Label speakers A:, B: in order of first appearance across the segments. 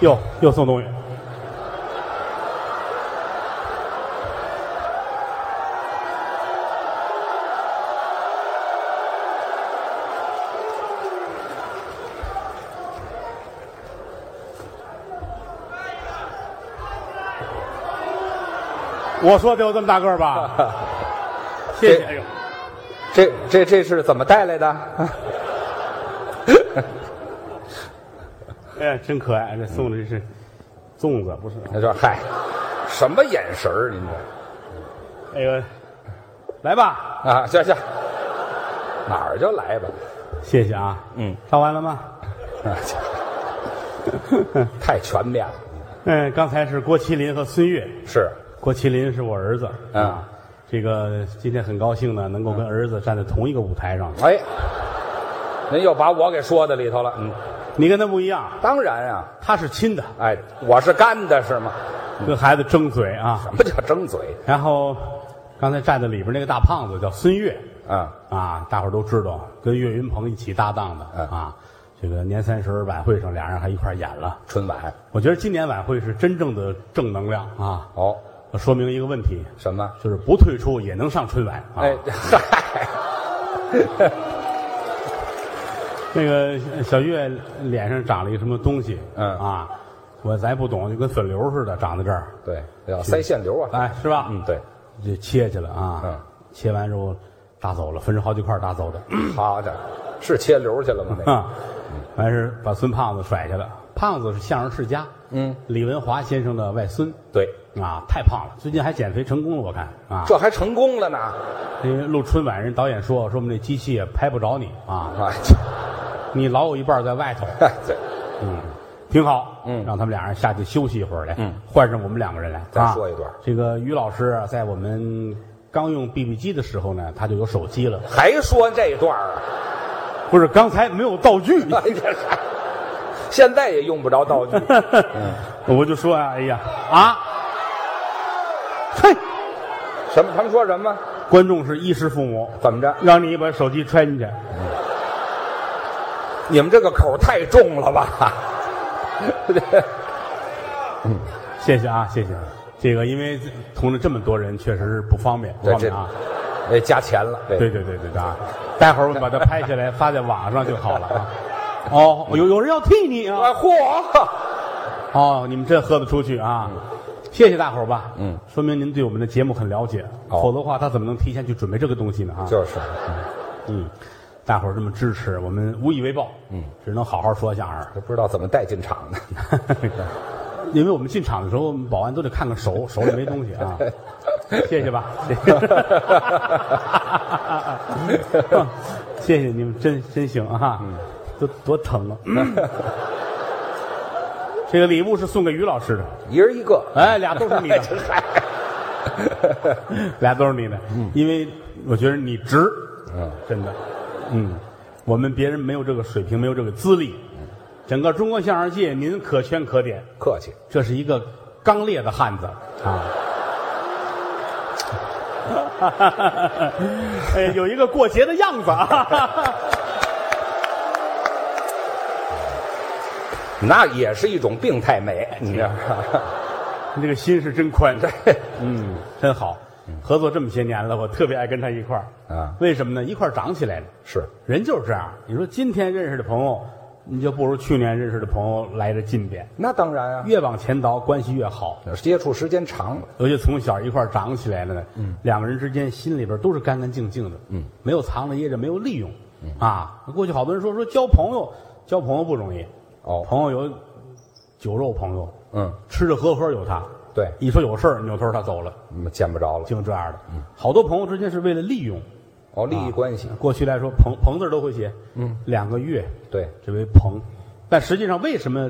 A: 又又送东西。我说得有这么大个儿吧？谢谢。哎呦
B: 这这这是怎么带来的？
A: 哎呀，真可爱！这送的这是粽子，不是？
B: 他说：“嗨，什么眼神儿？您
A: 那个，哎来吧，
B: 这啊，行行，哪儿就来吧，
A: 谢谢啊。
B: 嗯，
A: 唱完了吗？
B: 啊行太全面了。
A: 嗯，刚才是郭麒麟和孙越。
B: 是，
A: 郭麒麟是我儿子。
B: 嗯
A: 啊，这个今天很高兴呢，能够跟儿子站在同一个舞台上。
B: 哎，您又把我给说到里头了。嗯，
A: 你跟他不一样，
B: 当然啊，
A: 他是亲的，
B: 哎，我是干的是吗？
A: 跟孩子争嘴啊。
B: 什么叫争嘴
A: 然后刚才站在里边那个大胖子叫孙越。
B: 啊？
A: 啊，大伙儿都知道，跟岳云鹏一起搭档的、
B: 嗯
A: 啊。这个年三十晚会上，俩人还一块儿演了。
B: 春晚
A: 我觉得今年晚会是真正的正能量啊！
B: 哦，
A: 说明一个问题，
B: 什么？
A: 就是不退出也能上春晚啊。
B: 哎，嗨，
A: 那个小小月脸上长了一个什么东西？
B: 嗯
A: 啊，我咱也不懂，就跟粉瘤似的长在这儿，
B: 对，要塞线流啊。
A: 哎，是吧？
B: 嗯，，对，
A: 就切去了啊。
B: 嗯，
A: 切完之后打走了，分成好几块儿打走的。
B: 好的，是切流去了吗？那个
A: 啊，
B: 嗯
A: 完事儿把孙胖子甩下了。胖子是相声世家，
B: 嗯，
A: 李文华先生的外孙
B: 对，
A: 啊，太胖了，最近还减肥成功了，我看啊。
B: 这还成功了呢。
A: 因为录春晚，人导演说说我们这机器也拍不着你啊，
B: 哎，这
A: 你老有一半在外头，
B: 哎 对，
A: 嗯，挺好，
B: 嗯
A: 让他们俩人下去休息一会儿来，
B: 嗯，
A: 换上我们两个人来
B: 再
A: 啊
B: 说一段
A: 这个于老师啊在我们刚用 BB 机的时候呢，他就有手机了，
B: 还说这段儿啊？
A: 不是刚才没有道具，
B: 哎这还现在也用不着道具。
A: 我就说啊，哎呀啊，嘿，
B: 什么？他们说什么？
A: 观众是衣食父母，
B: 怎么着？
A: 让你把手机揣进去，
B: 你们这个口儿太重了吧？
A: 谢谢啊，谢谢。这个因为同着这么多人，确实是不方便，不
B: 对
A: 方便啊。
B: 哎，加钱了。对
A: 对对对对对啊！待会儿我们把它拍下来发在网上就好了啊。哦，有有人要替你
B: 哎
A: 啊！
B: 嚯！
A: 哦，你们真喝得出去啊！谢谢大伙儿吧，
B: 嗯，
A: 说明您对我们的节目很了解，
B: 哦
A: 否则的话他怎么能提前去准备这个东西呢啊？
B: 就是，
A: 嗯，大伙儿这么支持，我们无以为报，嗯，只能好好说相声。
B: 这不知道怎么带进场的。
A: 因为我们进场的时候，我们保安都得看看手， 手里没东西啊。谢谢吧，谢谢， 谢谢你们，真真行啊，多多疼啊！ 这个礼物是送给于老师的，
B: 一人一个。
A: 哎，俩都是你
B: 哎，
A: 的，
B: 这嗨，
A: 俩都是你的，因为我觉得你值，
B: 嗯，
A: 真的，嗯，我们别人没有这个水平，没有这个资历，整个中国相声界您可圈可点，
B: 客气。
A: 这是一个刚烈的汉子啊。哎， 有一个过节的样 子啊！
B: 那也是一种病态美，你知道吗？
A: 你这个心是真宽，嗯，真好。合作这么些年了，我特别爱跟他一块儿
B: 啊
A: 为什么呢？一块儿长起来了。
B: 是，
A: 人就是这样。你说今天认识的朋友，你就不如去年认识的朋友来的近点。
B: 那当然啊，
A: 越往前倒，关系越好。
B: 接触时间长了，
A: 尤其从小一块儿长起来了呢，两个人之间心里边都是干干净净的，嗯，没有藏着掖着，没有利用，嗯啊，过去好多人说说交朋友，交朋友不容易，
B: 哦
A: 朋友有酒肉朋友，
B: 嗯，
A: 吃吃喝喝有他，
B: 对
A: 一说有事儿扭头他走了，
B: 嗯见不着了。
A: 净这样的，好多朋友之间是为了利用，
B: 哦，利益关系，
A: 过去来说朋朋字都会写，嗯，两个月
B: 对，
A: 这为朋，但实际上为什么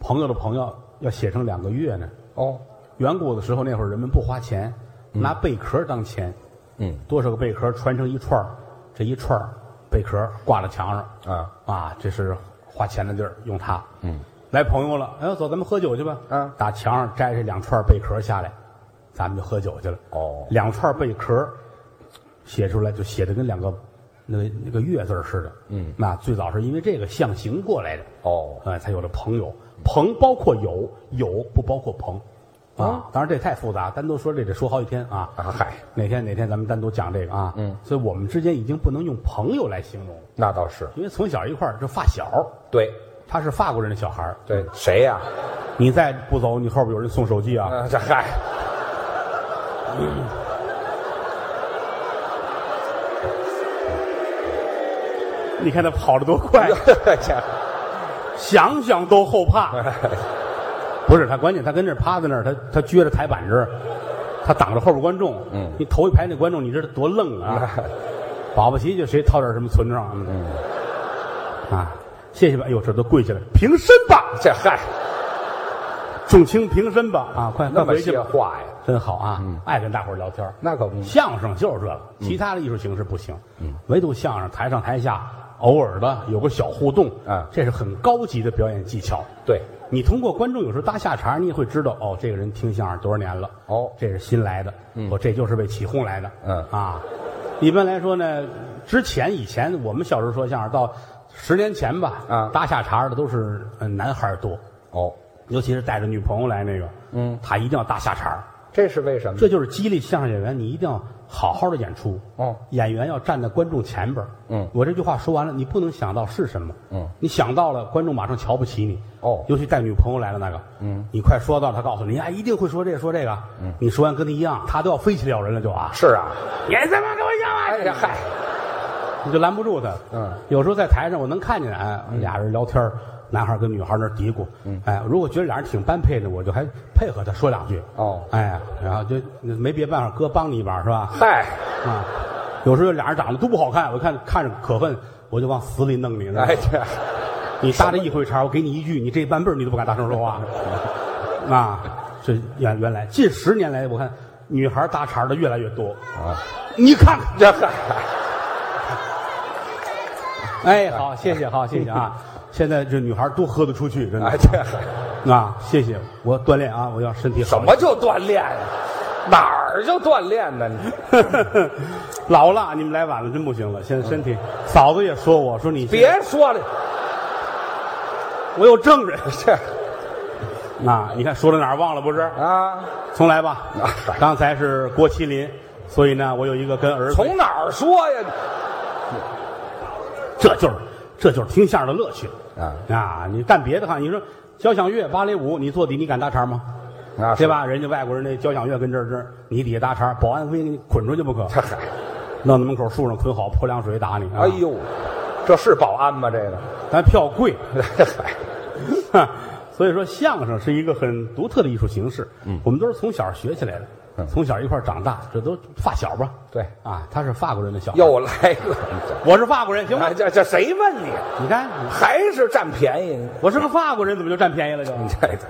A: 朋友的朋友要写成两个月呢？
B: 哦，
A: 远古的时候，那会儿人们不花钱，拿贝壳当钱，
B: 嗯
A: 多少个贝壳穿成一串儿这一串儿贝壳挂在墙上，
B: 啊，
A: 啊，这是花钱的地儿，用它。嗯，来朋友了，哎呦，走，咱们喝酒去吧。
B: 嗯
A: 打墙上摘这两串贝壳下来，咱们就喝酒去了。
B: 哦
A: 两串贝壳写出来就写的跟两个那个那个月字儿似的，嗯，那最早是因为这个象形过来的，
B: 哦，
A: 哎，才有了朋友。朋包括友，友不包括朋，啊，当然这太复杂，单独说这得说好几天啊。
B: 啊嗨，
A: 哪天哪天咱们单独讲这个啊，嗯，所以我们之间已经不能用朋友来形容了，
B: 那倒是
A: 因为从小一块儿就发小，
B: 对
A: 他是法国人的小孩儿，
B: 对，谁呀、
A: 你再不走，你后边有人送手机啊，
B: 啊？这嗨，
A: 你看他跑得多快，
B: 这
A: 想想都后怕。 不是他，关键他跟这儿趴在那儿，他他撅着台板这儿，他挡着后边观众。嗯，你头一排那观众，你知道多愣啊！保不齐就谁掏点什么存账。嗯，啊，谢谢吧。哎呦，这都跪下来，平身吧，
B: 这嗨，
A: 众卿平身吧。啊，快快
B: 那么
A: 回去
B: 些
A: 吧。
B: 话呀？
A: 真好啊，爱跟大伙儿聊天儿。
B: 那可不
A: 相声就是这个，其他的艺术形式不行，唯独相声台上台下偶尔的有个小互动，
B: 嗯
A: 这是很高级的表演技巧。
B: 对，
A: 你通过观众有时候搭下茬儿，你也会知道哦，这个人听相声多少年了，
B: 哦
A: 这是新来的，哦，这就是为起哄来的，
B: 嗯
A: 啊，一般来说呢，之前以前我们小时候说相声到十年前吧，
B: 啊
A: 搭下茬儿的都是呃男孩儿多，
B: 哦，
A: 尤其是带着女朋友来那个，嗯，他一定要搭下茬儿，
B: 这是为什么？
A: 这就是激励相声演员，你一定要好好的演出。
B: 哦，
A: 演员要站在观众前边儿
B: 嗯，
A: 我这句话说完了，你不能想到是什么。
B: 嗯，
A: 你想到了，观众马上瞧不起你。
B: 哦
A: 尤其带女朋友来了那个，嗯，你快说到了，他告诉你，哎，一定会说这个说这个。嗯，你说完跟他一样，他都要飞起来咬人了，就啊，
B: 是啊，
A: 你怎么给我讲
B: 哎这
A: 啊？
B: 嗨，
A: 你就拦不住他。
B: 嗯，
A: 有时候在台上我能看见，哎，俩人聊天儿。男孩跟女孩那儿嘀咕，嗯，哎，如果觉得俩人挺般配的，我就还配合他说两句，
B: 哦
A: 哎，然后就没别办法，哥帮你一把是吧？
B: 嗨，
A: 啊，有时候俩人长得都不好看，我看看着可恨，我就往死里弄你呢。
B: 哎这，
A: 你搭这一回茬，我给你一句，你这半辈儿你都不敢大声说话。 啊，这原原来近十年来，我看女孩搭茬的越来越多。
B: 啊，
A: 你看看，
B: 这嗨，
A: 哎，好，谢谢，好，谢谢 啊！现在这女孩都喝得出去，真
B: 哎
A: 的
B: 这嗨，
A: 啊！谢谢，我锻炼啊，我要身体好
B: 怎
A: 一点。
B: 么就锻炼呀？哪儿就锻炼呢？你
A: 老了，你们来晚了，真不行了。现在身体，嫂子也说我说你，
B: 哎别说了，
A: 我有证人
B: 这
A: 啊！你看说到哪儿忘了不是？
B: 啊，
A: 重来 吧
B: 啊。
A: 刚才是郭麒麟，所以呢，我有一个跟儿子，
B: 从哪儿说呀？
A: 这就是这就是听相声的乐趣
B: 啊
A: 啊！你干别的哈，你说交响乐、芭蕾舞，你坐底你敢搭茬吗？
B: 啊
A: 对？吧？人家外国人那交响乐跟这儿这儿，你底下搭茬，保安非给你捆出去不 可，
B: 这嗨，
A: 弄到门口树上捆好，泼凉水打你。啊
B: 哎，呦，这是保安吗？这个，
A: 咱票贵，
B: 这嗨，
A: 哈所以说相声是一个很独特的艺术形式。嗯，我们都是从小学起来的，
B: 嗯
A: 从小一块儿长大，这都发小吧？
B: 对，
A: 啊，他是法国人的小孩，
B: 又来了。
A: 我是法国人，行吗
B: 哎，？这这谁问你？
A: 你看，
B: 还是占便宜？
A: 我是个法国人，怎么就占便宜了就？嗯
B: 这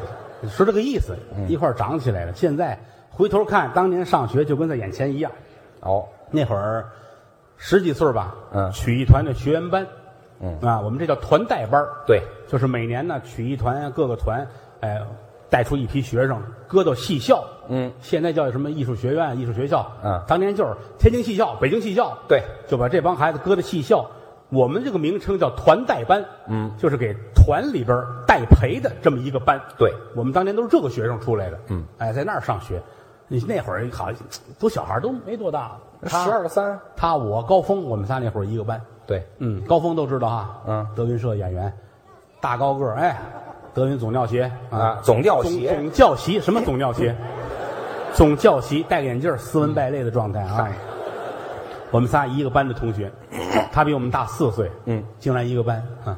A: 是这个意思，一块儿长起来了。现在回头看，当年上学就跟在眼前一样。
B: 哦，
A: 那会儿十几岁吧，
B: 嗯
A: 曲艺团的学员班，嗯啊，我们这叫团带班儿
B: 对，
A: 就是每年呢，曲艺团啊各个团，哎、带出一批学生，搁到戏校，
B: 嗯，
A: 现在叫什么艺术学院、艺术学校，
B: 嗯
A: 当年就是天津戏校、北京戏校，
B: 对，
A: 就把这帮孩子搁到戏校。我们这个名称叫团带班，嗯，就是给团里边儿带培的这么一个班。
B: 对，
A: 我们当年都是这个学生出来的，嗯，哎，在那儿上学，你那会儿好像都小孩儿都没多大，他
B: 十二三，
A: 他我高峰，我们仨那会儿一个班，
B: 对，
A: 嗯，高峰都知道啊，
B: 嗯，
A: 德云社演员，大高个儿，哎，德云总教协
B: 啊，总吊
A: 总
B: 鞋，
A: 总教习什么总教协？总教习戴个眼镜儿，斯文败类的状态啊。
B: 嗨，
A: 我们仨一个班的同学，他比我们大四岁，
B: 嗯，
A: 竟然一个班啊，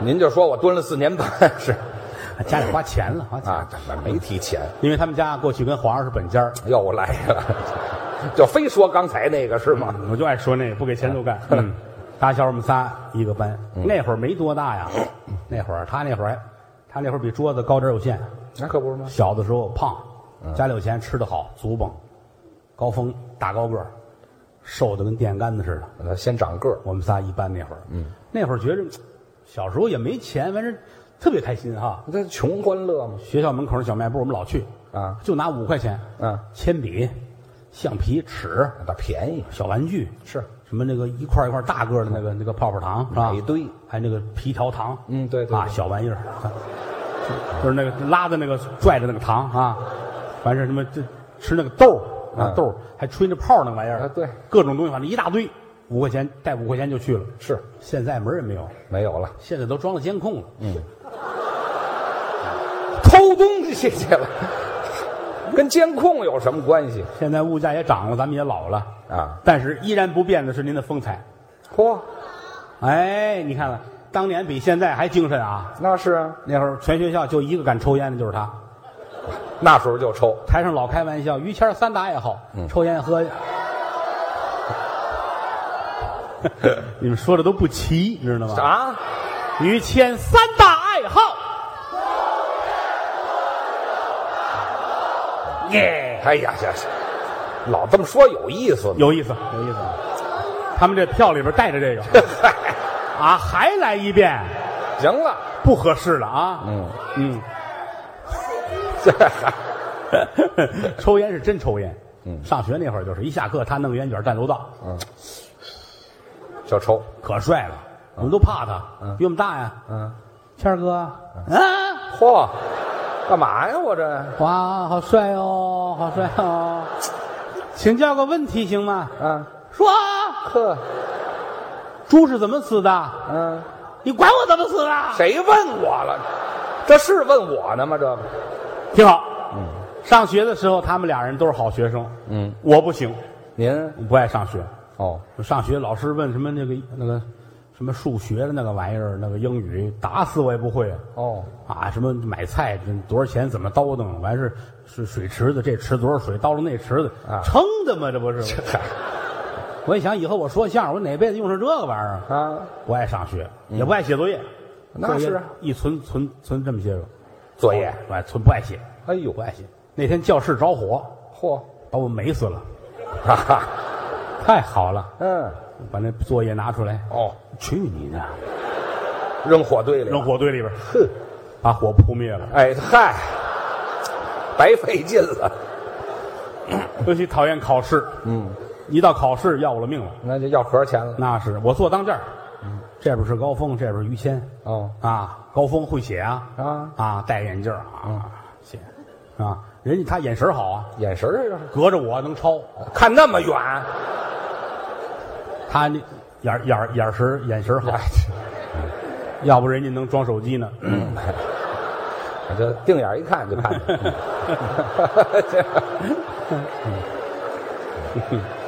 B: 您就说我蹲了四年半是
A: 家里花钱了，花钱
B: 啊，这没提钱，
A: 因为他们家过去跟皇上是本家儿
B: 又来了， 就非说刚才那个是吗？
A: 啊我就爱说那个，不给钱就干。嗯，打小我们仨一个班，
B: 嗯
A: 那会儿没多大呀，那会儿他那会儿还，他那会儿比桌子高点儿有 限。
B: 那可不是吗？
A: 小的时候胖，
B: 嗯
A: 家里有钱，吃的好，足蹦，高峰大高个儿，瘦的跟电杆子似的。
B: 那先长个儿，
A: 我们仨一班那会儿，嗯，那会儿觉着小时候也没钱，反正特别开心哈。
B: 这穷欢乐嘛，
A: 学校门口那小卖部我们老去
B: 啊，
A: 就拿五块钱，
B: 嗯，
A: 铅笔、橡皮尺、
B: 那便宜
A: 小玩具，
B: 是
A: 什么那个一块一块大个的那个那个泡泡糖是吧？
B: 买一堆
A: 还有那个皮条糖，
B: 嗯对对
A: 啊，
B: 对
A: 小玩意儿，啊就是那个拉的那个拽着那个糖啊，完事儿什么这吃那个豆儿啊
B: 嗯
A: 豆儿还吹那泡儿那玩意儿
B: 啊对，
A: 各种东西反正一大堆，五块钱带五块钱就去了。
B: 是
A: 现在门儿也没有，
B: 没有了，
A: 现在都装了监控了，
B: 嗯偷东西去了，跟监控有什么关系
A: 现在物价也涨了，咱们也老了，
B: 啊？
A: 但是依然不变的是您的风采。
B: 嚯，
A: 哎，你看看，当年比现在还精神啊！
B: 那是啊，
A: 那会儿全学校就一个敢抽烟的，就是他。
B: 那时候就抽，
A: 台上老开玩笑，于谦儿三大爱好：抽烟、喝。 你们说的都不齐，你知道吗？
B: 啊，
A: 于谦三大爱好，
B: 耶！哎呀呀，老这么说有意思吗？
A: 有意思，有意思。他们这票里边带着这个啊，还来一遍，
B: 行了，
A: 不合适了啊。
B: 嗯
A: 嗯，
B: 这
A: 抽烟是真抽烟。嗯，上学那会儿就是一下课，他弄烟卷站楼道，
B: 就抽，
A: 可帅了，我们都怕他，比我们大呀。
B: 啊嗯，
A: 谦儿哥，啊，
B: 嚯，干嘛呀？我这，
A: 哇，好帅哦，好帅 哦，请教个问题行吗？
B: 啊，
A: 说啊，
B: 呵，
A: 猪是怎么死的？
B: 嗯，
A: 你管我怎么死啊的？
B: 谁问我了？这是问我呢吗？这个，
A: 挺好。嗯上学的时候，他们俩人都是好学生。
B: 嗯，
A: 我不行，
B: 您
A: 我不爱上学。
B: 哦，
A: 我上学老师问什么那个那个什么数学的那个玩意儿，那个英语，打死我也不会啊。
B: 哦，
A: 啊，什么买菜多少钱，怎么叨叨，完事是水池子，这池多少水，叨了那池子，
B: 啊
A: 撑的嘛，这不是？
B: 嗨，
A: 我一想，以后我说相声，我哪辈子用上这个玩意儿？
B: 啊，
A: 不爱上学，也不爱写作业，
B: 那
A: 作业
B: 是啊
A: 一存存存这么些个
B: 作业，
A: 不爱存不爱写，
B: 哎呦
A: 不，爱写。那天教室着火，
B: 嚯，
A: 把我美死了，
B: 哈哈，
A: 太好了，
B: 嗯，
A: 把那作业拿出来，
B: 哦，
A: 去你的，
B: 扔火堆里，
A: 扔，火堆里边，
B: 哼，
A: 把火扑灭了。
B: 哎嗨，白费劲了，
A: 尤其讨厌考试，
B: 嗯，
A: 一到考试要我的命了。
B: 那就要盒钱了，
A: 那是我坐当间儿，这边是高峰，这边是于谦
B: 哦，
A: 啊。高峰会写啊
B: 啊
A: 啊，戴眼镜儿啊写啊，人家他眼神儿好啊，
B: 眼神儿
A: 隔着我能抄，
B: 看那么远，
A: 他那眼儿眼儿眼神儿眼神儿好，要不人家能装手机呢。
B: 我这定眼一看就看见了。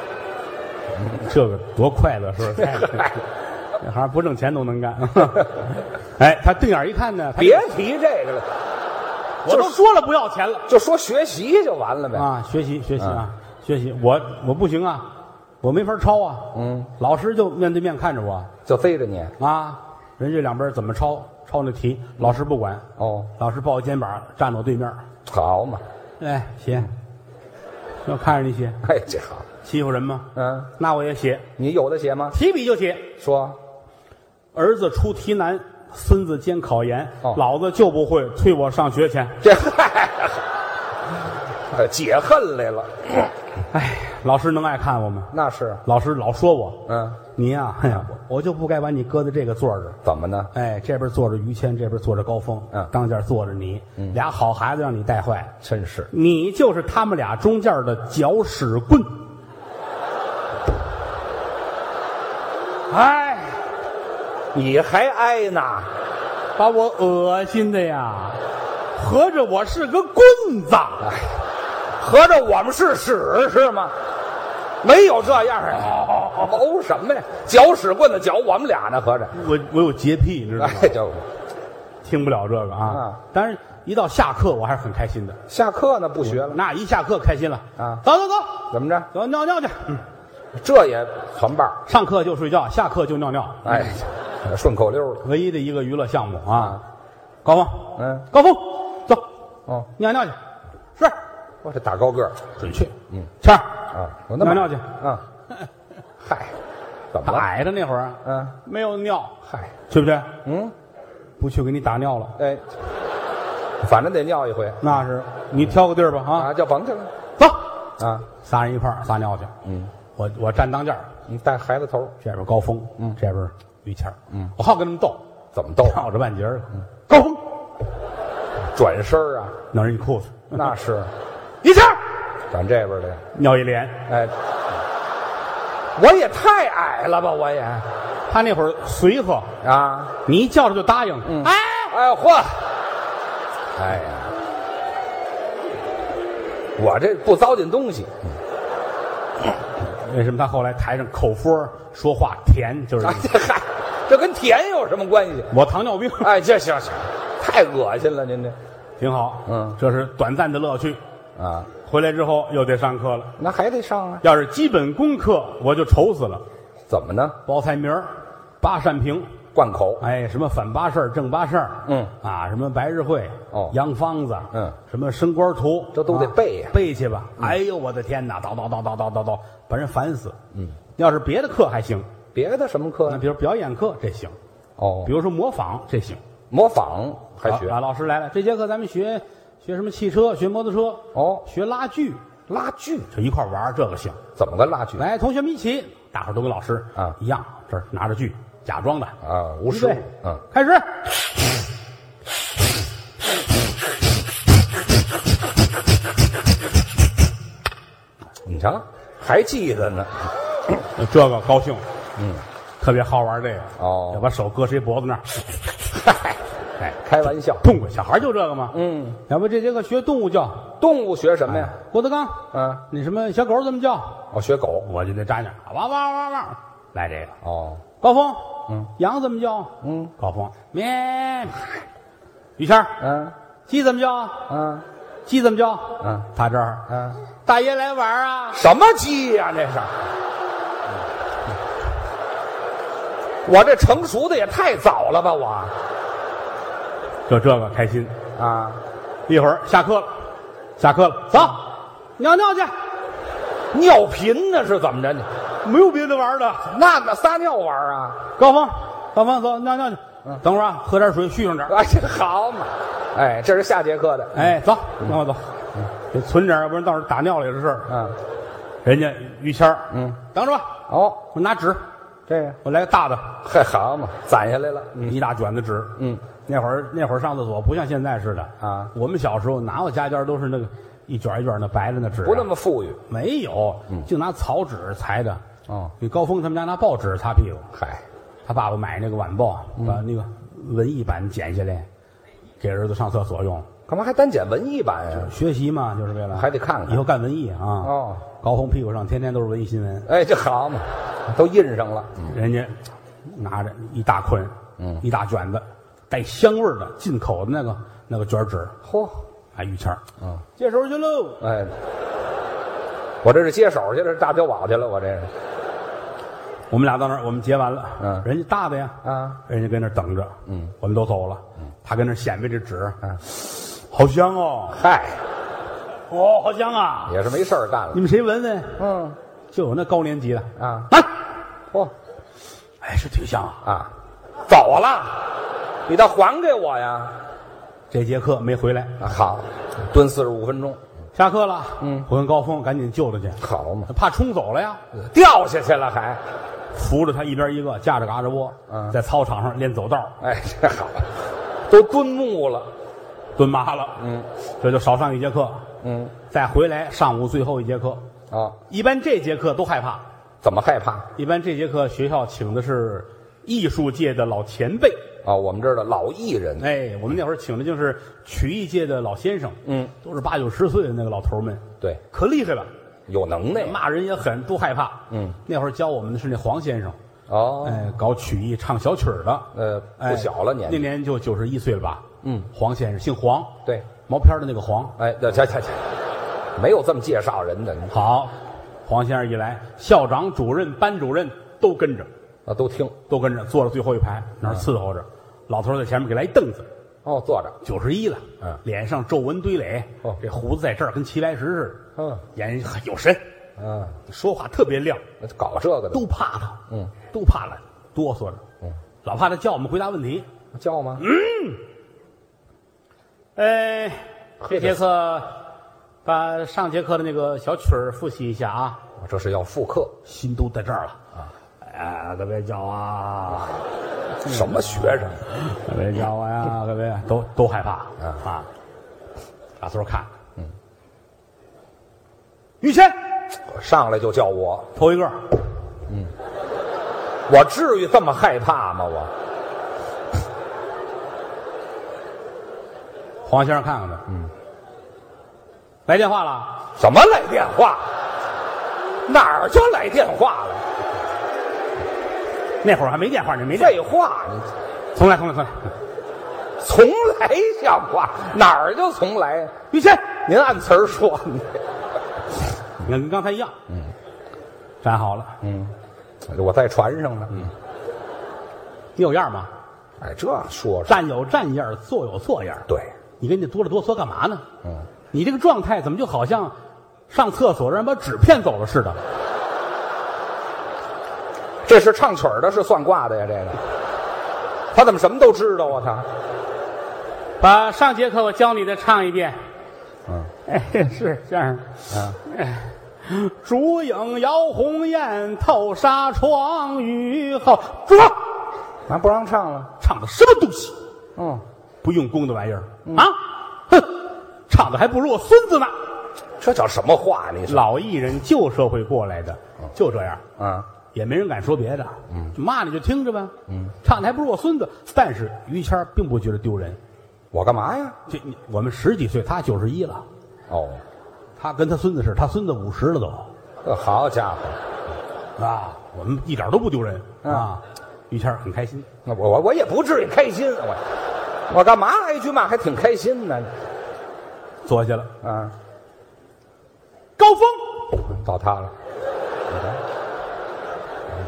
A: 这个多快乐是不是？ 这行不挣钱都能干。 哎，他定眼儿一看呢，他
B: 别提这个了，
A: 我都说了不要钱了
B: 就说学习就完了呗。嗯
A: 啊！学习学习啊，学习，我我不行啊，我没法抄啊。
B: 嗯，
A: 老师就面对面看着我
B: 就逮着你。
A: 啊，人家两边怎么抄抄那题，老师不管，
B: 哦，
A: 老师抱我肩膀站我对面，
B: 好嘛，
A: 哎写，就看着你写，
B: 哎，这好。
A: 欺负人吗？
B: 嗯，
A: 那我也写，
B: 你有的写吗？
A: 提笔就写。
B: 说，
A: 儿子出题难，孙子监考研，
B: 哦
A: 老子就不会，催我上学去。
B: 这嗨，呃 解恨来了，
A: 哎，老师能爱看我吗？
B: 那是。
A: 老师老说我，
B: 嗯，
A: 你呀、哎呀，我我就不该把你搁在这个座儿这儿。
B: 怎么呢？
A: 哎，这边坐着于谦，这边坐着高峰，
B: 嗯
A: 当间坐着你，俩好孩子让你带坏，
B: 真是
A: 你就是他们俩中间的搅屎棍。哎，
B: 你还挨呢？
A: 把我恶心的呀！合着我是个棍子，
B: 哎合着我们是屎是吗？没有这样的，哦什么呀？搅屎棍子搅我们俩呢，合着。
A: 我我有洁癖，你知道吗？
B: 哎，就
A: 听不了这个啊
B: 啊。
A: 但是，一到下课，我还是很开心的。
B: 下课呢，不学了，
A: 那一下课开心了
B: 啊
A: 走走走，
B: 怎么着？
A: 走尿尿去。嗯，
B: 这也团伴儿
A: 上课就睡觉，下课就尿尿，
B: 哎，顺口溜了。
A: 唯一的一个娱乐项目啊。高峰，
B: 嗯，
A: 高峰，走
B: 哦，
A: 尿尿去。是，
B: 我这打高个儿
A: 准确。嗯，谦儿，
B: 啊，我那
A: 尿
B: 么
A: 尿去。
B: 啊，嗨，怎么
A: 他
B: 了？
A: 矮着那会儿，啊
B: 嗯，
A: 没有尿，
B: 嗨，
A: 去不嗯去？
B: 嗯，
A: 不去给你打尿了，
B: 哎，反正得尿一回
A: 那是你挑个地儿吧啊。
B: 啊，就甭去了。
A: 走，
B: 啊，
A: 仨人一块儿撒尿去。嗯，我我站当间儿
B: 你带孩子头儿
A: 这边高峰，嗯，这边于谦儿，嗯，我好跟他们斗，
B: 怎么逗？
A: 绕着半截儿，高峰
B: 转身儿啊，
A: 弄人一裤子，
B: 那是
A: 于谦儿
B: 转这边儿的呀。
A: 尿一脸。
B: 哎，我也太矮了吧，我也
A: 他那会儿随和，
B: 啊，
A: 你一叫他就答应。哎，
B: 哎嚯，哎呀，我这不糟践东 西，
A: 为什么他后来台上口说说话甜，就是
B: 哎这嗨，这跟甜有什么关系？
A: 我糖尿 病，
B: 哎，这行行，太恶心了，您这
A: 挺好。
B: 嗯
A: 这是短暂的乐趣。
B: 啊，
A: 回来之后又得上课了，
B: 那还得上啊？
A: 要是基本功课我就愁死了。
B: 怎么呢？
A: 报菜名儿八扇屏，
B: 灌口
A: 哎，什么反八事儿、正八事儿，
B: 嗯
A: 啊，什么白日会，
B: 哦
A: 洋方子，
B: 嗯，
A: 什么升官图，
B: 这都得
A: 啊
B: 背呀嗯
A: 背去吧。哎呦，我的天哪，叨叨叨叨叨叨叨，把人烦死。嗯，要是别的课还行，
B: 别的什么课
A: 那
B: 呀？
A: 比如表演课这行，
B: 哦
A: 比，如说模仿这行，
B: 模仿还学
A: 啊，老师来了，这节课咱们学学什么汽车，学摩托车，
B: 哦
A: 学拉锯，
B: 拉锯，
A: 就一块玩儿这个行。
B: 怎么个拉锯
A: 来，同学们一起，大伙儿都跟老师
B: 啊
A: 一样，这儿拿着锯，假装的，
B: 啊？无
A: 预
B: 实物
A: 备，
B: 嗯，
A: 开始。
B: 你瞧，还记得呢。
A: 这个高兴，嗯，特别好玩这个
B: 哦
A: 要把手搁谁脖子 那儿，
B: 嗨，
A: 哎，
B: 开玩笑，
A: 痛快，小孩就这个嘛，哎
B: 嗯，
A: 要不这节课学动物叫，
B: 动物学什么呀？
A: 郭德纲，
B: 嗯，
A: 你什么小狗怎么叫，
B: 我学狗。
A: 啊我就得站那儿，汪汪汪汪，来这个，
B: 哦，
A: 高峰，嗯，羊怎么叫？
B: 嗯，
A: 高峰咩，于谦儿，
B: 嗯
A: 鸡怎么叫？
B: 嗯
A: 鸡怎么叫？
B: 嗯，
A: 他这儿，
B: 嗯，
A: 大爷来玩儿啊，
B: 什么鸡呀、这是？我这成熟的也太早了吧，我
A: 就这个开心。
B: 啊，
A: 一会儿下课了，下课了，走，尿尿去，
B: 尿频呢是怎么着呢？
A: 没有别的玩儿的。
B: 那那撒尿玩儿啊？
A: 高峰，高峰，走尿尿去。等会儿啊，喝点水，续上 点儿。
B: 哎，这好嘛！哎，这是下节课的。
A: 哎，走，跟我走，嗯得存点儿，要不然到时候打尿了也是事儿。
B: 嗯，
A: 人家于谦儿，嗯，等着吧，
B: 哦，
A: 我拿纸，
B: 这个
A: 我来个大的，
B: 嘿，好嘛，攒下来了。
A: 一大卷子纸。
B: 嗯，
A: 那会儿那会儿上厕所不像现在似的
B: 啊
A: 我们小时候哪有家家都是那个一卷一卷的白的那纸啊，
B: 不那么嗯富裕。
A: 没有，就拿草纸裁的。
B: 哦，
A: 那高峰他们家拿报纸擦屁股，
B: 嗨，
A: 他爸爸买那个晚报，
B: 嗯
A: 把那个文艺版剪下来，给儿子上厕所用。
B: 干嘛还单捡文艺版呀？
A: 学习嘛，就是为了
B: 还得看看
A: 以后干文艺啊。
B: 哦，
A: 高峰屁股上天天都是文艺新闻，
B: 哎，这好嘛，都印上了。嗯
A: 人家拿着一大捆，嗯，一大卷子，带香味儿的进口的那个那个卷纸，
B: 嚯、
A: 啊，于谦儿，
B: 嗯，
A: 接手去喽。
B: 哎，我这是接手去了，这是大碉堡去了，我这是。
A: 我们俩到那儿，我们结完了，
B: 嗯
A: 人家大的呀，
B: 啊，
A: 人家跟那儿等着，嗯，我们都走了，他跟那儿显摆这纸，嗯，好香哦，
B: 嗨，
A: 哦，好香啊，
B: 也是没事儿干
A: 你
B: 了。
A: 们谁闻闻？
B: 嗯，
A: 就有那高年级的
B: 啊，
A: 啊，
B: 嚯
A: 哎，是挺香啊。
B: 啊，走了，你倒还给我呀！
A: 这节课没回来，
B: 啊好，蹲四十五分钟，
A: 下课了，嗯，我跟高峰赶紧救他去，
B: 好嘛，
A: 怕冲走了呀，
B: 掉下去了还。
A: 扶着他一边一个，架着嘎着窝，
B: 嗯
A: 在操场上练走道，
B: 哎，这好，都蹲木了。
A: 蹲麻了，
B: 嗯，
A: 这就少上一节课，
B: 嗯，
A: 再回来上午最后一节课，
B: 啊，
A: 一般这节课都害怕，
B: 怎么害怕？
A: 一般这节课学校请的是艺术界的老前辈，
B: 啊，我们这儿的老艺人，
A: 哎，我们那会儿请的就是曲艺界的老先生，
B: 嗯，
A: 都是八九十岁的那个老头儿们，
B: 对，
A: 可厉害了，
B: 有能耐。
A: 骂人也狠，都害怕，
B: 嗯，
A: 那会儿教我们的是那黄先生，
B: 哦，
A: 哎，搞曲艺唱小曲儿的，
B: 呃，
A: 哎
B: 不小了年
A: 那
B: 纪。
A: 年就九十一岁了吧？
B: 嗯，
A: 黄先生姓黄，
B: 对，
A: 毛片儿的那个黄。
B: 哎，这这这，没有这么介绍人的，
A: 好，黄先生一来，校长、主任、班主任都跟着，
B: 啊，都听。
A: 都跟着，坐到最后一排那
B: 嗯
A: 儿伺候着。老头儿在前面给来一凳子，
B: 哦，坐着。
A: 九十一了，
B: 嗯
A: 脸上皱纹堆垒，
B: 哦
A: 这胡子在这儿跟齐白石似的，
B: 嗯
A: 眼很有神，
B: 嗯，
A: 说话特别亮，
B: 搞这个的
A: 都怕他，
B: 嗯，
A: 都怕他哆嗦着，嗯，老怕他叫我们回答问题。
B: 叫吗？
A: 哎呃，这节课到把上节课的那个小曲儿复习一下啊，
B: 我这是要复课，
A: 心都在这儿了啊！哎，各位叫啊，
B: 什么学生？啊
A: 各位叫我呀，各位都都害怕
B: 嗯
A: 啊！大头看，嗯，于谦
B: 上来就叫我，
A: 头一个，
B: 我至于这么害怕吗？我
A: 黄先生看看他，嗯，来电话了，
B: 怎么来电话？哪儿就来电话了？
A: 那会儿还没电话呢，没电话，
B: 废
A: 重
B: 话，
A: 来重来重来，
B: 从来像话？哪儿就从来？
A: 于谦，
B: 您按词儿说，
A: 你看跟刚才一样，嗯，站好了，
B: 我在船上呢。
A: 你有样吗？
B: 哎，这说说
A: 站有站样，坐有坐样。
B: 对，
A: 你跟你哆里哆嗦干嘛呢？
B: 嗯，
A: 你这个状态怎么就好像上厕所让人把纸骗走了似的？
B: 这是唱曲儿的，是算卦的呀？这个，他怎么什么都知道啊？他
A: 把上节课我教你的唱一遍。
B: 嗯，
A: 哎，是先生。
B: 啊，
A: 烛影摇红雁，透纱窗，雨后。住手！
B: 咱啊不让唱了。
A: 唱的什么东西？
B: 嗯，
A: 不用功的玩意儿、啊！哼，唱的还不如我孙子呢。
B: 这叫什么话？你说
A: 老艺人旧社会过来的，就这样。
B: 啊？
A: 也没人敢说别的，嗯，骂你就听着呗，嗯，唱的还不如我孙子。但是于谦儿并不觉得丢人，
B: 我干嘛呀？
A: 这你我们十几岁，他九十一了，
B: 哦，
A: 他跟他孙子是，他孙子五十了都，
B: 这哦好家伙，
A: 啊，我们一点都不丢人啊。于谦儿很开心，
B: 那我我我也不至于开心，啊我我干嘛挨句骂还挺开心呢？
A: 坐下了。
B: 啊，
A: 高峰，
B: 到他了，你看，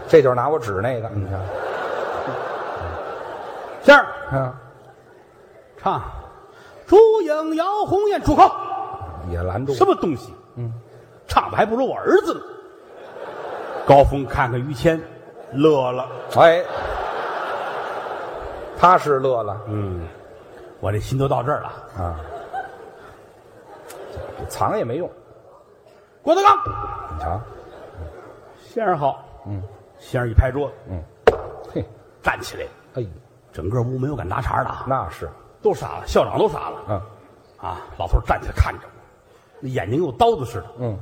B: 这就是拿我指那个，你看，
A: 先生
B: 啊，
A: 唱《烛影摇红雁》，住口！
B: 也拦住
A: 什么东西？嗯，唱的还不如我儿子呢。高峰看看于谦，乐了。
B: 哎，他是乐了
A: 嗯，我这心都到这儿了。
B: 啊，藏也没用，
A: 郭德纲，
B: 你瞧，
A: 先生好。嗯，先生一拍桌子，
B: 嘿，
A: 站起来，
B: 哎，
A: 整个屋没有敢搭茬的啊，
B: 那是，
A: 都傻了，校长都傻了。
B: 嗯
A: 啊，老头站起来看着我，那眼睛跟有刀子似的。
B: 嗯，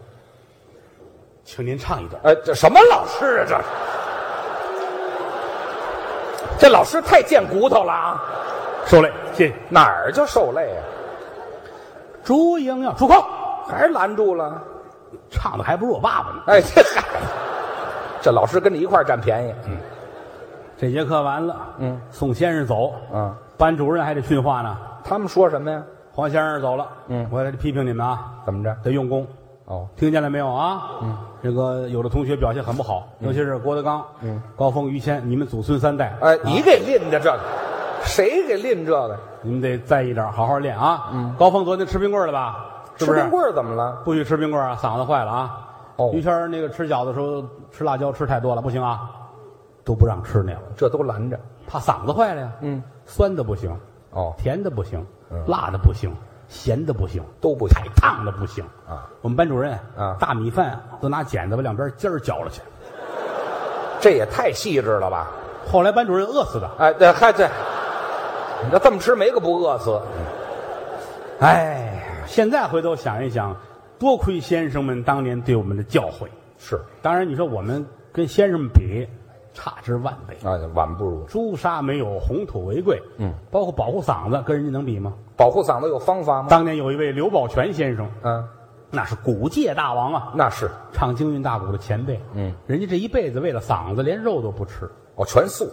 A: 请您唱一段。
B: 哎，这什么老师啊？这是这老师太贱骨头了啊！
A: 受累，谢谢。
B: 哪儿就受累啊？
A: 朱英要出口，
B: 还是拦住了？
A: 唱的还不如我爸爸呢。
B: 哎， 这嗨，这老师跟你一块儿占便宜。嗯
A: 这节课完了，
B: 嗯，
A: 送先生走，
B: 嗯，
A: 班主任还得训话呢。
B: 他们说什么呀？
A: 黄先生走了，嗯，我得批评你们啊，
B: 怎么着？
A: 得用功，
B: 哦，
A: 听见了没有啊？嗯，这个有的同学表现很不好，尤其是郭德纲、嗯，高峰、于谦，你们祖孙三代，
B: 哎，你给拎的这个，谁给拎这个？
A: 你们得在意点，好好练啊。嗯，高峰昨天吃冰棍儿了吧？是
B: 吃
A: 不是
B: 冰棍儿怎么了？
A: 不许吃冰棍儿啊，嗓子坏了啊。
B: 哦
A: 于谦儿那个吃饺子的时候吃辣椒吃太多了，不行啊，都不让吃那个，
B: 这都拦着。
A: 怕嗓子坏了呀。嗯，酸的不行，
B: 哦，
A: 甜的不行，辣的不行，咸的不行，
B: 都不行
A: 太烫的不行
B: 啊。
A: 我们班主任
B: 啊
A: 大米饭都拿剪子把两边尖儿绞了去。
B: 这也太细致了吧？
A: 后来班主任饿死的，
B: 哎，这嗨这，你这这么吃没个不饿死。
A: 哎，现在回头想一想，多亏先生们当年对我们的教诲。
B: 是
A: 当然，你说我们跟先生们比，差之万倍。
B: 啊，晚不如
A: 朱砂没有，红土为贵。嗯，包括保护嗓子，跟人家能比吗？
B: 保护嗓子有方法吗？
A: 当年有一位刘宝全先生，
B: 嗯，
A: 那是古界大王啊，
B: 那是
A: 唱京韵大鼓的前辈。嗯，人家这一辈子为了嗓子，连肉都不吃，
B: 哦，全素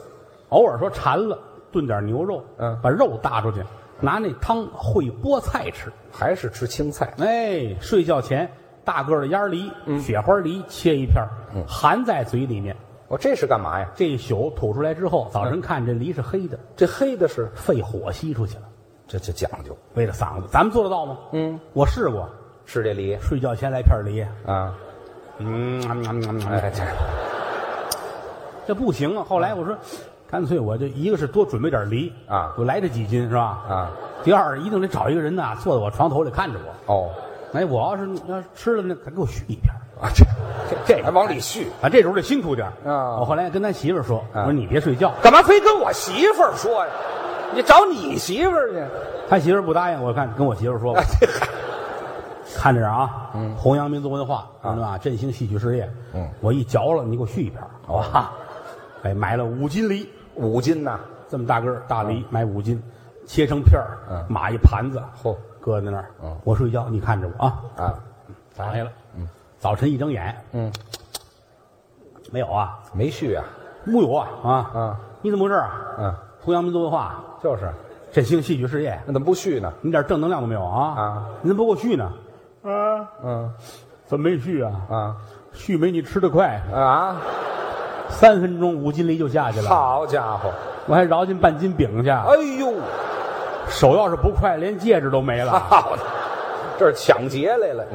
A: 偶尔说馋了，炖点牛肉，
B: 嗯
A: 把肉搭出去，拿那汤烩菠菜吃。
B: 还是吃青菜？
A: 哎，睡觉前大个儿的鸭梨、雪花梨切一片儿，含在嘴里面。
B: 哦，这是干嘛呀？
A: 这一宿吐出来之后，早晨看这梨是黑的，
B: 这黑的是
A: 肺火吸出去了。
B: 这这讲究，
A: 为了嗓子，咱们做得到吗？嗯，我试过，
B: 吃这梨
A: 睡觉前来片梨，
B: 啊，
A: 嗯，
B: 哎这
A: 这不行啊。后来我说，干脆我就一个是多准备点梨
B: 啊
A: 我来这几斤是吧？
B: 啊
A: 第二，一定得找一个人呐，坐在我床头里看着我。
B: 哦，
A: 哎，我要是要是吃了那，可给我续一片儿
B: 啊，这
A: 这这
B: 还往里续，
A: 啊，这时候得辛苦点儿啊
B: 啊
A: 我后来跟他媳妇儿说，我说
B: 嗯
A: 你别睡觉，
B: 干嘛非跟我媳妇儿说呀？你找你媳妇儿去。
A: 他媳妇儿不答应，我看跟我媳妇儿说吧
B: 哎，，这还
A: 看着点儿啊，弘扬民族文化，知道吧？振兴戏曲事业，
B: 啊嗯，哦
A: 我一嚼了，你给我续一片儿，好吧？ 哎，买了五斤梨，
B: 五斤呐，
A: 这么大个儿大梨，买五斤，切成片儿，
B: 嗯
A: 码一盘子，
B: 嚯
A: 搁在那儿
B: 嗯，
A: 我睡觉，你看着我啊，
B: 啊，
A: 躺下了，早晨一睁眼，
B: 嗯，
A: 没有啊，
B: 没续啊，
A: 木有啊啊
B: 嗯
A: 你怎么回事啊？
B: 嗯，
A: 弘扬民族文化，
B: 就是，
A: 振兴戏曲事业，
B: 那怎么不续呢？
A: 你点正能量都没有啊？
B: 啊，
A: 你怎么不给我续呢？啊，
B: 嗯
A: 怎么没续啊？
B: 啊
A: 续没你吃的快，
B: 啊，
A: 三分钟五斤梨就下去了。
B: 好家伙，
A: 我还饶进半斤饼去，
B: 哎呦，
A: 手要是不快，连戒指都没了。
B: 好的，这是抢劫来了，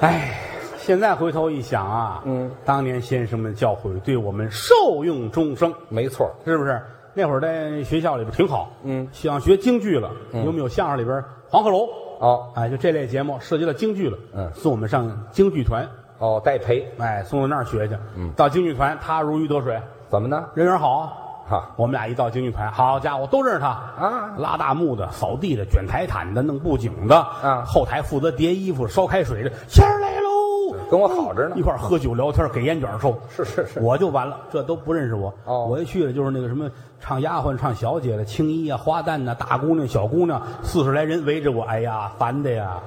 A: 哎，现在回头一想啊，
B: 嗯，
A: 当年先生们教诲对我们受用终生，
B: 没错儿，
A: 是不是？那会儿在学校里边挺好，
B: 嗯
A: 想学京剧了，有没有相声里边黄鹤楼？
B: 哦
A: 哎，就这类节目涉及到京剧了，
B: 嗯
A: 送我们上京剧团，
B: 哦，戴培
A: 哎，送到那儿学去，嗯，到京剧团他如鱼得水，
B: 怎么呢？
A: 人缘好啊。
B: 哈
A: 我们俩一到京剧团，好家伙，都认识他
B: 啊
A: 拉大幕的、扫地的、卷台毯的、弄布景的，
B: 嗯
A: 后台负责叠衣服、烧开水的，仙儿来喽，
B: 跟我好着呢
A: 一块儿喝酒聊天，给烟卷抽，
B: 是是是
A: 哎我就完了，这都不认识我，
B: 哦
A: 我一去了就是那个什么唱丫鬟、唱小姐的、青衣啊、花旦呐、大姑娘、小姑娘，四十来人围着我，哎呀，烦的呀！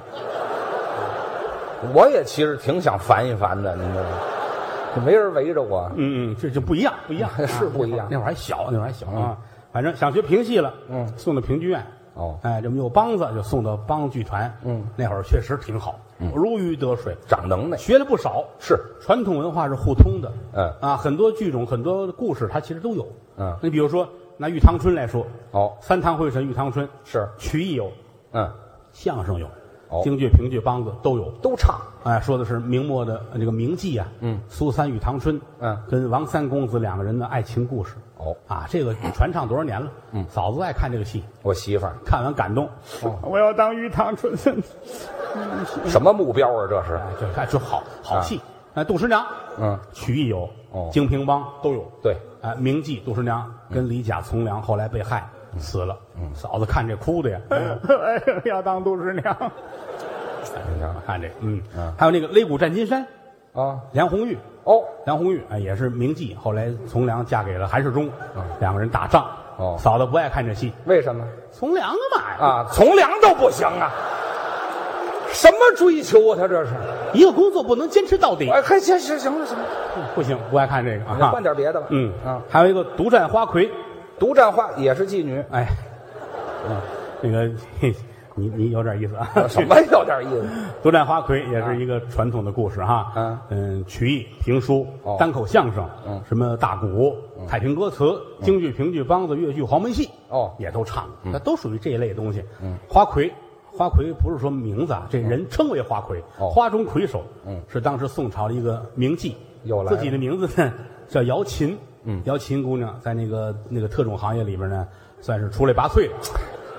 B: 我也其实挺想烦一烦的，你知道吗？就没人围着我，
A: 嗯嗯，这就不一样，不一样，
B: 是不一样 嗯
A: 那会儿还小，那会儿还小啊。反正想学评戏了，嗯，送到评剧院。
B: 哦
A: 哎，这么有梆子就送到梆剧团。
B: 嗯，
A: 那会儿确实挺好，如鱼得水，
B: 长能耐
A: 学了不少。
B: 是
A: 传统文化是互通的。
B: 嗯
A: 啊，很多剧种、很多故事，它其实都有。
B: 嗯
A: 你比如说拿玉堂春来说，
B: 哦，
A: 三堂会审玉堂春
B: 是
A: 曲艺有，
B: 嗯，
A: 相声有，
B: 哦
A: 京剧、评剧、梆子都有。
B: 都唱
A: 哎，说的是明末的呃这个名妓啊，嗯，苏三与唐春，
B: 嗯
A: 跟王三公子两个人的爱情故事。
B: 哦
A: 啊，这个传唱多少年了？嗯，哦嫂子爱看这个戏，
B: 我媳妇儿
A: 看完感动， 我要当玉堂春，
B: 什么目标啊？这是
A: 哎，这哎这好好戏。哎，杜十娘，
B: 嗯，
A: 曲艺有，
B: 哦
A: 京评梆都有。嗯
B: 对，
A: 哎，名妓杜十娘跟李甲从良后来被害死了，嫂子看这哭的呀，嗯 哎，要当杜十 娘。
B: 你看
A: 哎看这，嗯
B: 嗯，
A: 还有那个擂鼓战金山，
B: 啊
A: 梁红玉，
B: 哦
A: 梁红玉哎也是名妓，后来从良嫁给了韩世忠，两个人打仗。
B: 嗯哦
A: 嫂子不爱看这戏，
B: 为什么
A: 从良干嘛呀？
B: 啊？从良都不行啊！什么追求啊？他这是
A: 一个工作不能坚持到底，
B: 哎，还行行行了行了，
A: 不行，不爱看这个
B: 你
A: 啊。
B: 换点别的吧。
A: 嗯
B: 啊，
A: 还有一个独占花魁，
B: 独占花也是妓女，
A: 哎，嗯，那个 嘿你你有点意思啊。
B: 什么有点意思？
A: 独占花魁也是一
B: 啊
A: 个传统的故事哈。
B: 嗯
A: 嗯，曲艺、评书
B: 哦、
A: 单口相声，
B: 嗯
A: 什么大鼓、太平歌词、京剧、评剧、梆子、越剧、黄梅戏，
B: 哦
A: 也都唱，那都属于这一类东西。嗯，花魁。花魁不是说名字啊，这人称为花魁，
B: 嗯哦
A: 花中魁首，
B: 嗯
A: 是当时宋朝的一个名妓，
B: 又来了嗯
A: 自己的名字呢叫姚琴，嗯，姚琴姑娘在那个那个特种行业里边呢，算是出类拔萃了，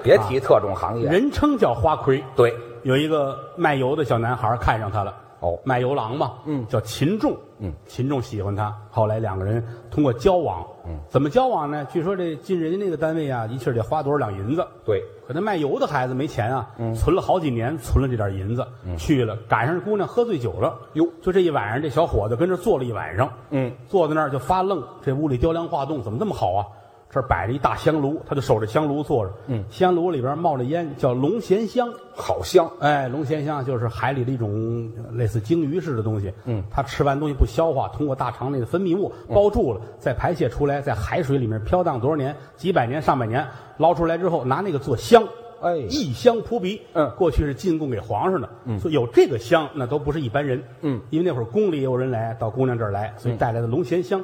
B: 别提特种行业，
A: 啊人称叫花魁，
B: 对，
A: 有一个卖油的小男孩看上她了。
B: 哦
A: 卖油郎嘛，
B: 嗯
A: 叫秦仲，
B: 嗯，
A: 秦仲喜欢她。后来两个人通过交往，嗯，怎么交往呢？据说这进人家那个单位啊，一气儿得花多少两银子。
B: 对，
A: 可那卖油的孩子没钱啊，
B: 嗯
A: 存了好几年，存了这点银子，去了赶上姑娘喝醉酒了，
B: 哟
A: 就这一晚上，这小伙子跟这坐了一晚上，
B: 嗯，
A: 坐在那儿就发愣，这屋里雕梁画栋，怎么这么好啊？这儿摆着一大香炉，他就守着香炉坐着，嗯，香炉里边冒着烟，叫龙涎香，
B: 好香，
A: 哎，龙涎香就是海里的一种类似鲸鱼似的东西。嗯，它吃完东西不消化，通过大肠内的分泌物包住了，再排泄出来，在海水里面飘荡多少年，几百年、上百年，捞出来之后拿那个做香。
B: 哎
A: 异香扑鼻。
B: 嗯
A: 过去是进贡给皇上的，所以有这个香，那都不是一般人。
B: 嗯，
A: 因为那会儿宫里也有人来，到姑娘这儿来，所以带来的龙涎香。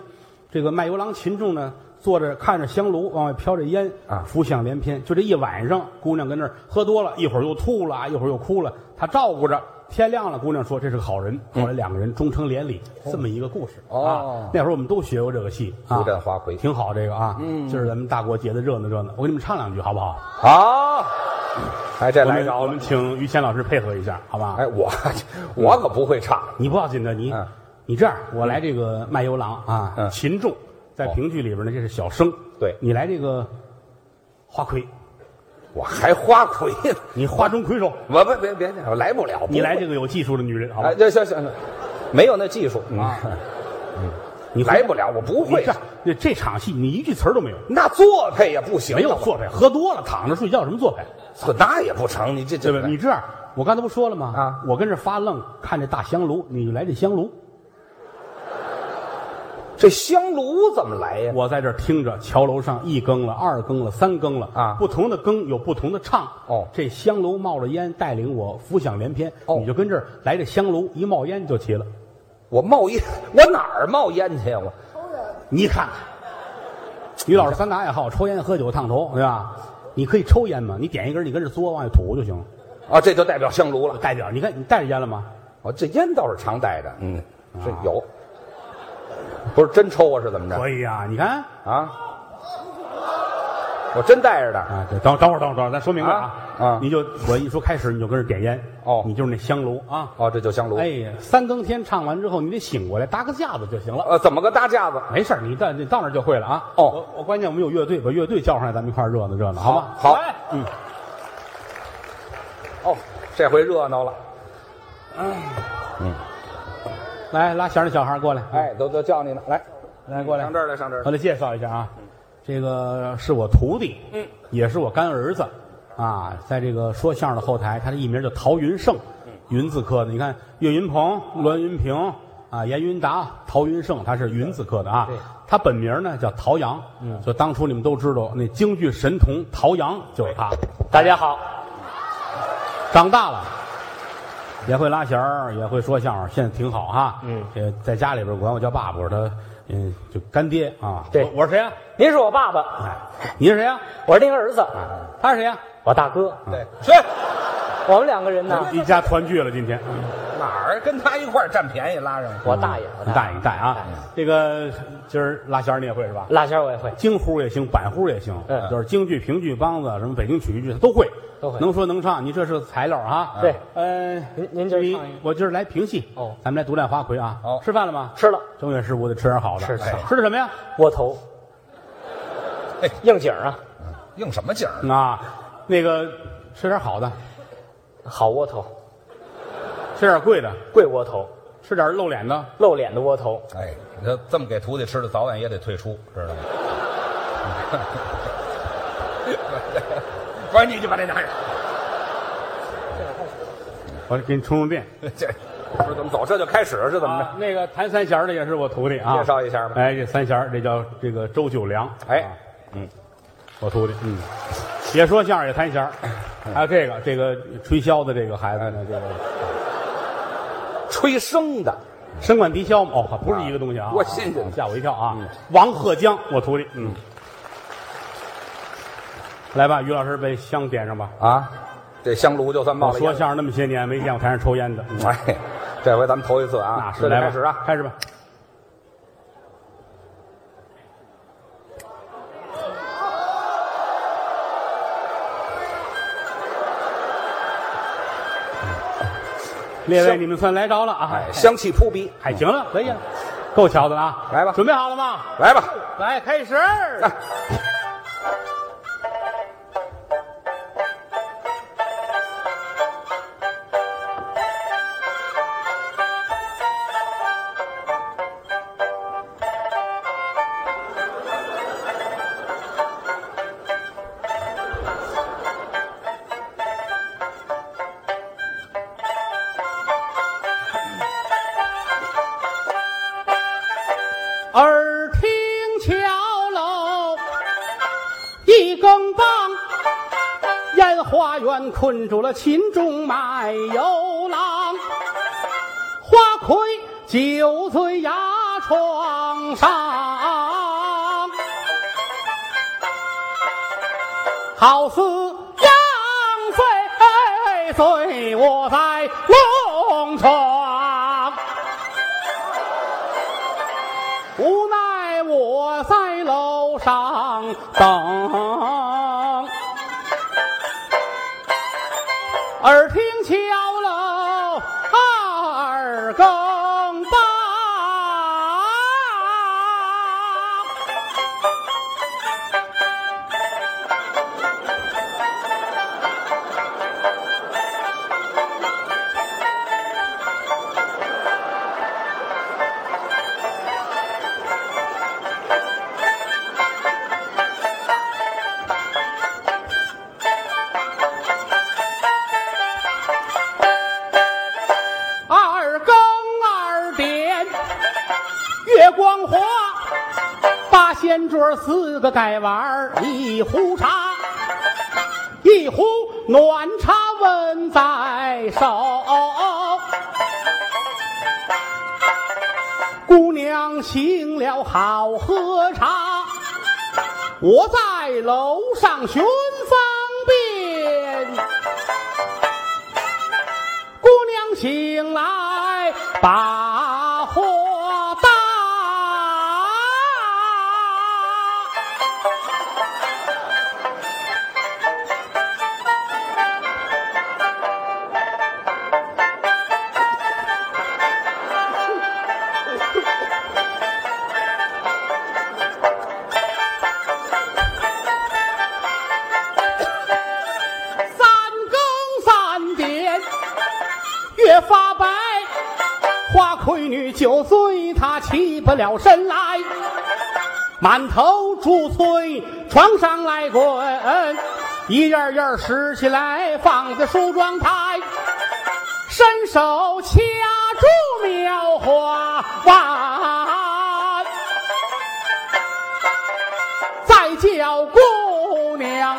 A: 这个卖油郎秦仲呢，坐着看着香炉往外飘着烟
B: 啊
A: 浮想联翩。就这一晚上，姑娘跟那儿喝多了，一会儿又吐了，一会儿又哭了，他照顾着。天亮了，姑娘说这是个好人。后来两个人终成连理，这么一个故事
B: 嗯哦
A: 啊。那会儿我们都学过这个戏啊，
B: 独占花魁
A: 挺好这个啊。嗯，今儿咱们大过节的热闹热闹，我给你们唱两句好不好？
B: 好，哎，这
A: 我
B: 来
A: 们
B: 着
A: 我
B: 了
A: 们。请于谦老师配合一下，好吧？
B: 哎，我我可不会唱。
A: 你不要紧的，你、
B: 嗯
A: 你这样，我来这个卖油郎啊，
B: 嗯
A: 秦仲在评剧里边呢，这是小生，
B: 对
A: 你来这个花魁，
B: 我还花魁呢。
A: 你花中魁首，
B: 我不别别，我来不了。不会
A: 你来这个有技术的女人，好吧？
B: 哎，这行行，没有那技术啊，
A: 你
B: 来不了，我不
A: 嗯你
B: 会
A: 这。这这场戏你一句词儿都没有，
B: 那做配也不行，
A: 没有做派，喝多了躺着睡觉什么做派，
B: 做那也不成。你这
A: 对
B: 这
A: 吧？你这样，我刚才不说了吗？
B: 啊，
A: 我跟这发愣，看这大香炉，你就来这香炉，
B: 这香炉怎么来呀？
A: 我在这儿听着，桥楼上一更了，二更了，三更了
B: 啊
A: 不同的更有不同的唱。
B: 哦
A: 这香炉冒着烟，带领我浮想联翩。
B: 哦
A: 你就跟这儿来这香炉一冒烟就齐了。
B: 我冒烟，我哪儿冒烟去呀？我
A: 你看看，于老师三大爱好：抽烟、喝酒、烫头，对吧？你可以抽烟吗？你点一根，你跟着嘬往外吐就行了。
B: 啊，这就代表香炉了。
A: 代表，你看你带着烟了吗？
B: 我哦这烟倒是常带着，嗯，是有，不是真抽啊？是怎么着
A: 可以啊，你看
B: 啊？我真带着的。
A: 啊，对，等等会儿，等会儿，等会儿，咱说明白
B: 啊啊
A: 你就我一说开始，你就跟着点烟。
B: 哦
A: 你就是那香炉啊。
B: 哦，这就香炉。，
A: 哎，三更天唱完之后，你得醒过来搭个架子就行了。
B: 呃，怎么个搭架子？
A: 没事儿，你到你到那儿就会了啊。
B: 哦
A: 我我关键我们有乐队，把乐队叫上来，咱们一块儿热闹热闹，好吗？
B: 好
A: 来嗯，
B: 哦，这回热闹了。
A: 来拉弦儿的小孩儿过来，
B: 哎，都都叫你呢，来，
A: 嗯来过来
B: 上这，儿来，上这儿来
A: 我。得介绍一下啊，这个是我徒弟，嗯，也是我干儿子，啊，在这个说相声的后台，他的艺名叫陶云胜，
B: 嗯
A: 云字科的。你看岳云鹏、栾云平啊、严云达、陶云胜，他是云字科的啊
B: 对。
A: 他本名呢叫陶阳，嗯，就当初你们都知道那京剧神童陶阳就是
C: 啊
A: 他。大家好，长大了。也会拉弦儿，也会说相声，现在挺好哈。嗯，呃，在家里边管我叫爸爸，我说他，嗯，就干爹啊。
C: 对
A: 我我是谁呀、
C: 您是我爸爸，
A: 哎，您是谁呀、
C: 我是您儿子，
A: 他是谁啊呀、
C: 我大哥。
A: 啊
B: 对，去
C: 我们两个人呢，
A: 一家团聚了，今天
B: 哪儿跟他一块儿占便宜拉上去？
C: 我大爷，我
A: 你
C: 大
A: 带
C: 爷，
A: 你带啊。这个今儿拉弦儿你也会是吧？
C: 拉弦我也会，
A: 京胡也行，板胡也行，
C: 嗯
A: 就是京剧、评剧、梆子，什么北京曲艺剧，他都会，
C: 都会
A: 能说能唱。你这是个材料啊。
C: 对
A: 呃，
C: 您您今儿
A: 你
C: 唱一个
A: 我今儿来评戏。
C: 哦
A: 咱们来独揽花魁啊。
B: 好
A: 吃饭了吗？
C: 吃了
A: 正月十五得吃点好的。
C: 吃吃
A: 哎吃的什么呀？
C: 窝头
B: 哎，
C: 应景啊，
B: 应什么景儿？
A: 啊，那个吃点好的，
C: 好窝头，
A: 吃点贵的，
C: 贵窝头，
A: 吃点露脸的。
C: 露脸的窝头，
B: 哎，你说这么给徒弟吃的，早晚也得退出，知道吗？ 不是，你就把这拿上。
A: 我给你充充电。
B: 这不是怎么走？这就开始是怎么着？
A: 啊那个弹三弦儿的也是我徒弟啊，
B: 介绍一下吧
A: 哎，这三弦儿这叫这个周九良，
B: 哎
A: 啊我徒弟，嗯，也说相声也弹弦儿还有这个这个吹箫的这个孩子呢，这个
B: 吹笙的，
A: 笙管笛箫嘛，哦，不是一个东西啊，
B: 多新鲜
A: 吓我一跳啊！王鹤江，我徒弟，嗯，来吧，于老师，把香点上吧。
B: 啊！这香炉就算冒
A: 我
B: 了
A: 说
B: 烟。
A: 相声那么些年，没见过台上抽烟的，嗯
B: 哎，这回咱们头一次啊
A: 那，是
B: 这就
A: 来吧，
B: 开始啊！
A: 开始吧。列位，
B: 嗯行
A: 你们算来着了啊！
B: 哎，香气扑鼻，
A: 还行了，可以了，够瞧的了啊！
B: 来吧
A: 准备好了吗？
B: 来吧！
A: 来，开始。耳听桥楼一更棒，烟花园困住了秦中卖油郎，花魁酒醉牙床上，好似杨妃醉卧在龙床。无奈我在楼上等，耳听敲楼二更半，二更二点，月光华，八仙桌四个盖碗儿一壶茶，一壶暖茶温在手。姑娘醒了好喝茶，我在楼上寻芳遍。姑娘醒来把火打，三更三点越发白。花魁女酒醉，她起不了身来，满头珠翠，床上来滚，一页页拾起来放在梳妆台，伸手掐住描花碗，再叫姑娘。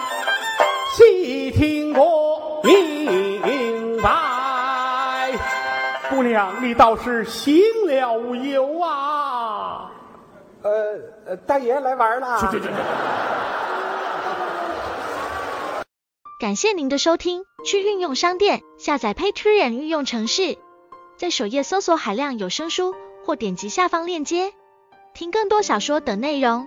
A: 细听我明白，姑娘，你倒是行了无忧啊！
B: 呃，呃大爷来玩啦！
A: 去去去去。
D: 感谢您的收听，去运用商店下载 Patreon 运用城市，在首页搜索海量有声书，或点击下方链接听更多小说等内容。